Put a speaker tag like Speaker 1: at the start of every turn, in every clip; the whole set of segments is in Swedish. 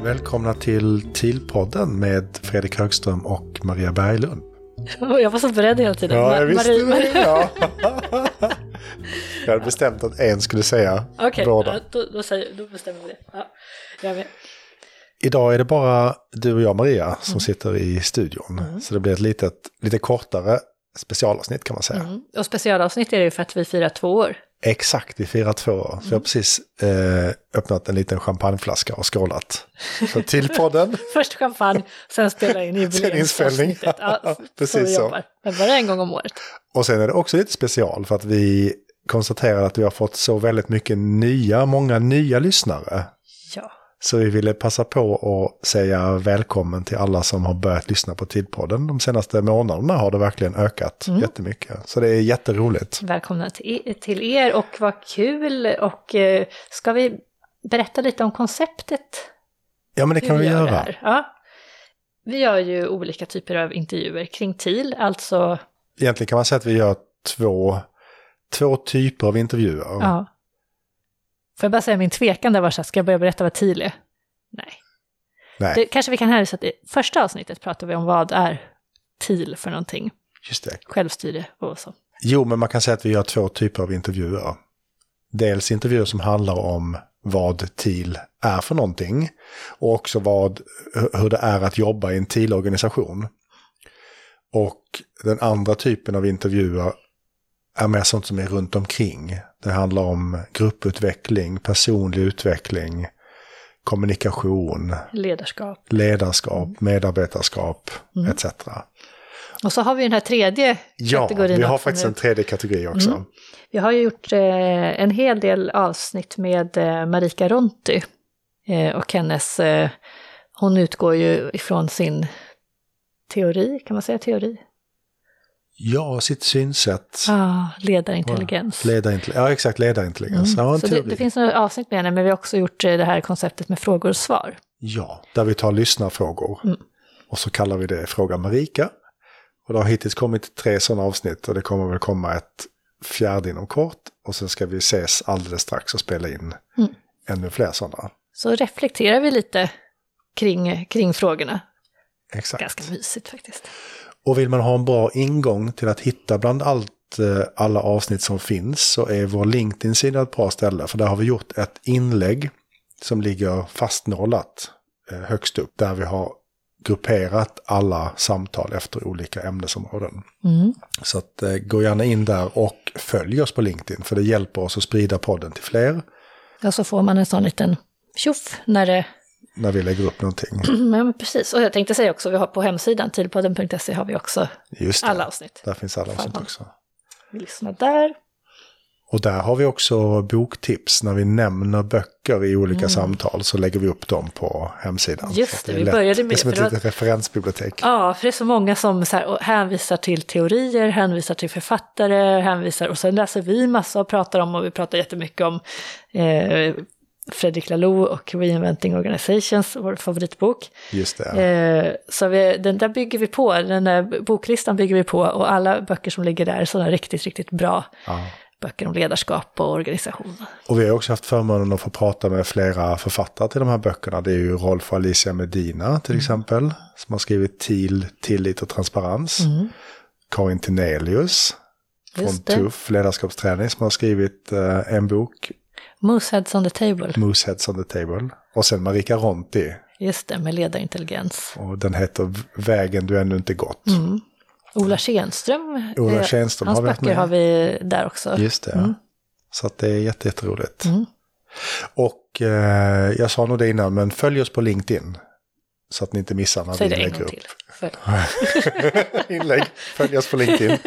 Speaker 1: Välkomna till TIL-podden med Fredrik Högström och Maria Berglund.
Speaker 2: Jag var så beredd hela tiden.
Speaker 1: Ja, jag
Speaker 2: Ma-
Speaker 1: visste
Speaker 2: Marie-
Speaker 1: det. Ja. Jag hade bestämt att en skulle säga
Speaker 2: Okej,
Speaker 1: båda.
Speaker 2: ja, då, då, säger, då bestämmer vi det. Ja, jag med.
Speaker 1: Idag är det bara du och jag, Maria,
Speaker 2: Mm.
Speaker 1: som sitter i studion. Så det blir ett litet, lite kortare specialavsnitt kan man säga.
Speaker 2: Mm. Och specialavsnitt är det ju för att vi firar två år.
Speaker 1: Exakt, vi firar två år. Så jag har
Speaker 2: Mm.
Speaker 1: precis eh, öppnat en liten champagneflaska och skålat. Så till podden.
Speaker 2: Först champagne, sen spela in
Speaker 1: inspelning.
Speaker 2: jubileumsavsnittet. Ja,
Speaker 1: Precis
Speaker 2: vi
Speaker 1: så.
Speaker 2: jobbar. Men bara en gång om året.
Speaker 1: Och sen är det också lite special för att vi konstaterar att vi har fått så väldigt mycket nya, många nya lyssnare.
Speaker 2: Ja.
Speaker 1: Så vi ville passa på och säga välkommen till alla som har börjat lyssna på Tidpodden. De senaste månaderna har det verkligen ökat
Speaker 2: Mm.
Speaker 1: jättemycket. Så det är jätteroligt.
Speaker 2: Välkomna till e- till er och vad kul. Och eh, ska vi berätta lite om konceptet?
Speaker 1: Ja, men det kan
Speaker 2: hur
Speaker 1: vi
Speaker 2: gör det
Speaker 1: göra.
Speaker 2: här? Ja. Vi gör ju olika typer av intervjuer kring TIL, alltså
Speaker 1: Egentligen kan man säga att vi gör två, två typer av intervjuer.
Speaker 2: Ja. Får jag bara säga min tvekan där var så här, ska jag börja berätta vad TIL är? Nej.
Speaker 1: Nej,
Speaker 2: Det, kanske vi kan hänvisa till, första avsnittet pratade vi om vad är TIL för någonting,
Speaker 1: just det.
Speaker 2: självstyre och så.
Speaker 1: Jo, men man kan säga att vi gör två typer av intervjuer. Dels intervjuer som handlar om vad TIL är för någonting och också vad, hu- hur det är att jobba i en TIL-organisation. Och den andra typen av intervjuer är mer sånt som är runt omkring. Det handlar om grupputveckling, personlig utveckling, kommunikation,
Speaker 2: Ledarskap.
Speaker 1: ledarskap, medarbetarskap etc.
Speaker 2: Och så har vi den här tredje
Speaker 1: Ja,
Speaker 2: kategorin.
Speaker 1: vi har
Speaker 2: också
Speaker 1: faktiskt
Speaker 2: nu.
Speaker 1: en tredje kategori också.
Speaker 2: Mm. Vi har ju gjort eh, en hel del avsnitt med eh, Marika Ronty eh, och hennes, eh, hon utgår ju ifrån sin teori, kan man säga teori?
Speaker 1: Ja, sitt synsätt.
Speaker 2: Ah, ledarintelligens.
Speaker 1: Ledarintelli- ja, exakt. Ledarintelligens. Ja, en
Speaker 2: Mm. Så det,
Speaker 1: teori.
Speaker 2: det finns några avsnitt med henne, men vi har också gjort eh, det här konceptet med frågor och svar.
Speaker 1: Ja, där vi tar lyssnarfrågor.
Speaker 2: Mm.
Speaker 1: Och så kallar vi det Fråga Marika. Och det har hittills kommit tre sådana avsnitt och det kommer väl komma ett fjärde inom kort. Och sen ska vi ses alldeles strax och spela in
Speaker 2: Mm.
Speaker 1: ännu fler sådana.
Speaker 2: Så reflekterar vi lite kring, kring frågorna.
Speaker 1: Exakt.
Speaker 2: Ganska mysigt faktiskt.
Speaker 1: Och vill man ha en bra ingång till att hitta bland allt, eh, alla avsnitt som finns så är vår LinkedIn-sida ett bra ställe. För där har vi gjort ett inlägg som ligger fastnålat eh, högst upp. Där vi har grupperat alla samtal efter olika ämnesområden.
Speaker 2: Mm.
Speaker 1: Så att, eh, gå gärna in där och följ oss på LinkedIn. För det hjälper oss att sprida podden till fler
Speaker 2: Och så får man en sån liten tjoff när det...
Speaker 1: när vi lägger upp någonting.
Speaker 2: Ja, men precis. Och jag tänkte säga också, vi har på hemsidan, tidpodden.se, har vi också
Speaker 1: Just det,
Speaker 2: alla avsnitt.
Speaker 1: där finns alla avsnitt
Speaker 2: Fan.
Speaker 1: också.
Speaker 2: Lyssna där.
Speaker 1: Och där har vi också boktips. När vi nämner böcker i olika samtal så lägger vi upp dem på hemsidan.
Speaker 2: Mm. Just
Speaker 1: Så att
Speaker 2: det,
Speaker 1: är
Speaker 2: vi började
Speaker 1: Det är
Speaker 2: med-
Speaker 1: som ett
Speaker 2: för det
Speaker 1: litet referensbibliotek.
Speaker 2: Ja, för det är så många som så här, och hänvisar till teorier, hänvisar till författare, hänvisar och sen läser vi massa och pratar om och vi pratar jättemycket om eh, Fredrik Laloux och Reinventing Organizations, vår favoritbok.
Speaker 1: Just det.
Speaker 2: Eh, så vi, den där bygger vi på, den där boklistan bygger vi på och alla böcker som ligger där är sådana riktigt, riktigt bra
Speaker 1: Ja.
Speaker 2: böcker om ledarskap och organisation.
Speaker 1: Och vi har också haft förmånen att få prata med flera författare till de här böckerna. Det är ju Rolf och Alicia Medina
Speaker 2: Mm.
Speaker 1: till exempel. Som har skrivit Till, Tillit och Transparens. Karin Tinelius från
Speaker 2: Mm. Just det.
Speaker 1: Tuff ledarskapsträning som har skrivit eh, en bok,
Speaker 2: Mooseheads on the table,
Speaker 1: Mooseheads on the table. Och sen Marika Ronti.
Speaker 2: just det, med ledarintelligens.
Speaker 1: Och den heter V- Vägen du ännu inte gått.
Speaker 2: Ola Tjernström,
Speaker 1: Ola
Speaker 2: Mm. eh,
Speaker 1: Tjernström
Speaker 2: hans
Speaker 1: har vi haft
Speaker 2: böcker
Speaker 1: med.
Speaker 2: har vi Mm. där också.
Speaker 1: Just det. Så att det är jätte- jätteroligt.
Speaker 2: Mm.
Speaker 1: Och eh, jag sa nog det innan, men följ oss på LinkedIn. Så att ni inte missar när
Speaker 2: Säg
Speaker 1: vi
Speaker 2: det en
Speaker 1: lägger
Speaker 2: gång
Speaker 1: upp
Speaker 2: till. För,
Speaker 1: inlägg. Följ oss på LinkedIn.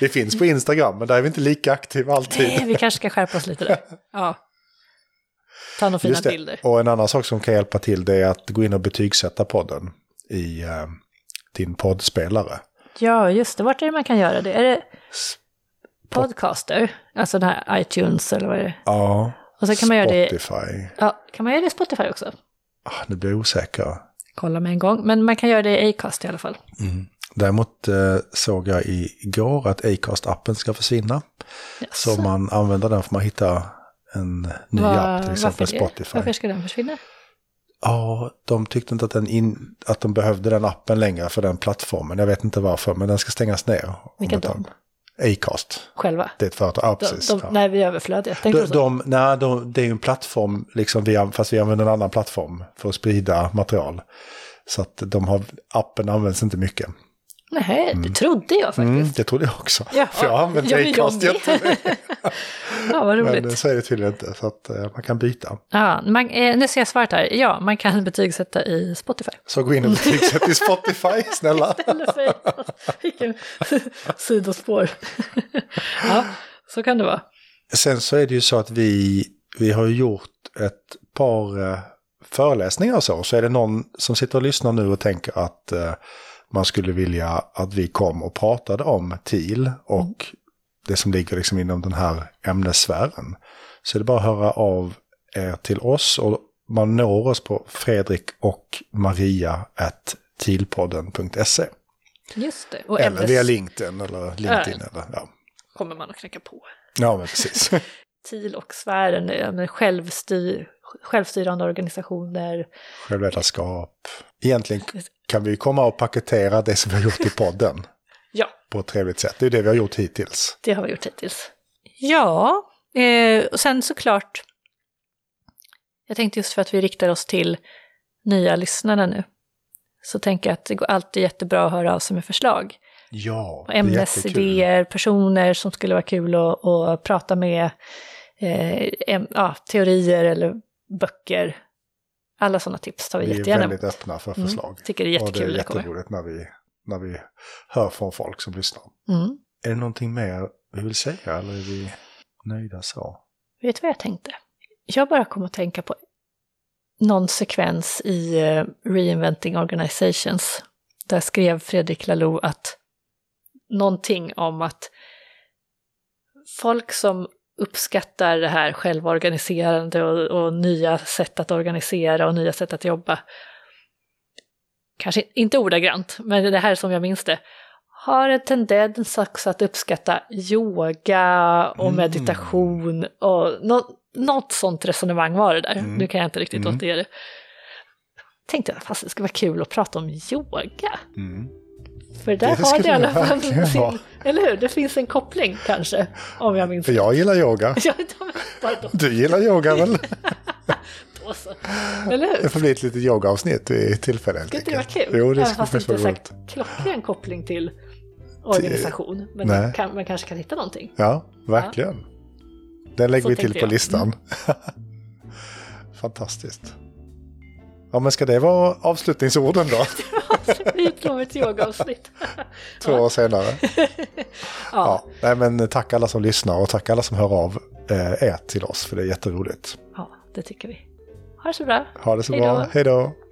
Speaker 1: Vi finns på Instagram, men där är vi inte lika aktiva alltid.
Speaker 2: nej, vi kanske ska skärpa oss lite där. Ja. Ta några fina
Speaker 1: Just det.
Speaker 2: bilder.
Speaker 1: Och en annan sak som kan hjälpa till det är att gå in och betygsätta podden i eh, din poddspelare.
Speaker 2: Ja, just det. Vart är det man kan göra det? Är det Podcaster? Alltså den här iTunes eller vad är det?
Speaker 1: Ja,
Speaker 2: Och så kan man göra det,
Speaker 1: Spotify.
Speaker 2: ja, kan man göra det i Spotify också.
Speaker 1: Ah, nu blir jag osäker.
Speaker 2: Kolla med en gång. Men man kan göra det i Acast i alla fall.
Speaker 1: Däremot eh, såg jag igår att Acast-appen ska försvinna. Så
Speaker 2: Jaså.
Speaker 1: man använder den för man hitta en ny
Speaker 2: Vad-
Speaker 1: app, till exempel
Speaker 2: varför det?
Speaker 1: Spotify.
Speaker 2: Varför ska den försvinna?
Speaker 1: ja, de tyckte inte att, den in, att de behövde den appen längre för den plattformen. Jag vet inte varför, men den ska stängas ner. om
Speaker 2: Vilka
Speaker 1: ett tag.
Speaker 2: de?
Speaker 1: Acast,
Speaker 2: Själva?
Speaker 1: det är ett företag. Ja,
Speaker 2: De,
Speaker 1: precis.
Speaker 2: de,
Speaker 1: ja.
Speaker 2: Nej, vi är överflödiga. Tänkte
Speaker 1: De,
Speaker 2: du så?
Speaker 1: de, nej, de, det är ju en plattform, liksom, vi, an- fast vi använder en annan plattform för att sprida material. Så att de har, appen används inte mycket.
Speaker 2: Nej, det trodde jag faktiskt.
Speaker 1: Mm, det trodde jag också.
Speaker 2: Ja,
Speaker 1: för jag har använt
Speaker 2: ja, men jag
Speaker 1: Acast
Speaker 2: med.
Speaker 1: jättemycket.
Speaker 2: Ja, vad
Speaker 1: Men det
Speaker 2: roligt.
Speaker 1: säger det tydligen inte, så att eh, man kan byta.
Speaker 2: Ja, man, eh, nu ser jag svaret här. Ja, man kan betygsätta i Spotify.
Speaker 1: Så gå in och betygsätt i Spotify, snälla.
Speaker 2: Eller för- Vilken sidospår. ja, så kan det vara.
Speaker 1: Sen så är det ju så att vi, vi har ju gjort ett par eh, föreläsningar och så. Så är det någon som sitter och lyssnar nu och tänker att eh, man skulle vilja att vi kom och pratade om TIL och det som ligger liksom inom den här ämnessfären. Så är det bara att höra av er till oss och man når oss på fredrik och maria at tilpodden.se.
Speaker 2: Just det. Och
Speaker 1: Eller via
Speaker 2: ämnes
Speaker 1: LinkedIn eller LinkedIn. Eller, ja.
Speaker 2: kommer man att knacka på.
Speaker 1: ja, men precis.
Speaker 2: TIL och sfären, eh, men självstyr, självstyrande organisationer.
Speaker 1: Självledarskap. Egentligen kan vi komma och paketera det som vi har gjort i podden
Speaker 2: Ja,
Speaker 1: på ett trevligt sätt. Det är det vi har gjort hittills.
Speaker 2: det har vi gjort hittills. Ja, eh, och sen såklart. Jag tänkte just för att vi riktar oss till nya lyssnare nu. Så tänker jag att det går alltid jättebra att höra av sig med förslag.
Speaker 1: Ja, det
Speaker 2: Och
Speaker 1: är jättekul.
Speaker 2: ämnesidéer, personer som skulle vara kul att, att prata med, eh, em, ja, teorier eller böcker. Alla sådana tips tar vi,
Speaker 1: Vi är
Speaker 2: jättegärna
Speaker 1: väldigt
Speaker 2: emot.
Speaker 1: öppna för förslag.
Speaker 2: Tycker det är
Speaker 1: Och det
Speaker 2: jättekul
Speaker 1: är
Speaker 2: när det kommer.
Speaker 1: jätteroligt när vi, när vi hör från folk som lyssnar.
Speaker 2: Mm.
Speaker 1: Är det någonting mer vi vill säga eller är vi nöjda så?
Speaker 2: Vet du vad jag tänkte? Jag bara kom att tänka på någon sekvens i eh, Reinventing Organizations. Där skrev Fredrik Laloux att någonting om att folk som uppskattar det här självorganiserande och, och nya sätt att organisera och nya sätt att jobba. Kanske inte ordagrant, men det här är som jag minns det. Har en tendens också att uppskatta yoga och
Speaker 1: Mm.
Speaker 2: meditation och nå, något sånt resonemang var det där.
Speaker 1: Mm.
Speaker 2: Nu kan jag inte riktigt
Speaker 1: Mm.
Speaker 2: återge det. Tänkte jag, fast det skulle vara kul att prata om yoga.
Speaker 1: Mm.
Speaker 2: För där
Speaker 1: Det
Speaker 2: har det i
Speaker 1: skulle
Speaker 2: alla
Speaker 1: det
Speaker 2: fall
Speaker 1: verkligen vara.
Speaker 2: sin, eller hur? Det finns en koppling kanske, om jag minns
Speaker 1: För jag gillar yoga.
Speaker 2: Ja, de är bara då,
Speaker 1: Du gillar yoga väl?
Speaker 2: då så. Eller hur?
Speaker 1: Det får bli ett litet yogaavsnitt vid tillfälle helt
Speaker 2: Skulle inte det vara
Speaker 1: enkelt.
Speaker 2: kul?
Speaker 1: Jo, det
Speaker 2: Även
Speaker 1: skulle
Speaker 2: fast
Speaker 1: faktiskt
Speaker 2: inte
Speaker 1: vara
Speaker 2: är så
Speaker 1: roligt.
Speaker 2: här klockren koppling till organisation. Men
Speaker 1: Nej.
Speaker 2: man, kan, man kanske kan hitta någonting.
Speaker 1: Ja, verkligen. Den lägger
Speaker 2: Så
Speaker 1: vi till på
Speaker 2: tänkte jag. Mm.
Speaker 1: listan. Fantastiskt. Ja, men ska det vara avslutningsorden då?
Speaker 2: Vi utlovar ett yogaavsnitt.
Speaker 1: Två år senare. Ja. Nej, men tack alla som lyssnar och tack alla som hör av eh, er till oss, för det är jätteroligt.
Speaker 2: ja, det tycker vi. Ha det så bra.
Speaker 1: Ha det så
Speaker 2: Hej då.
Speaker 1: bra. Hej då.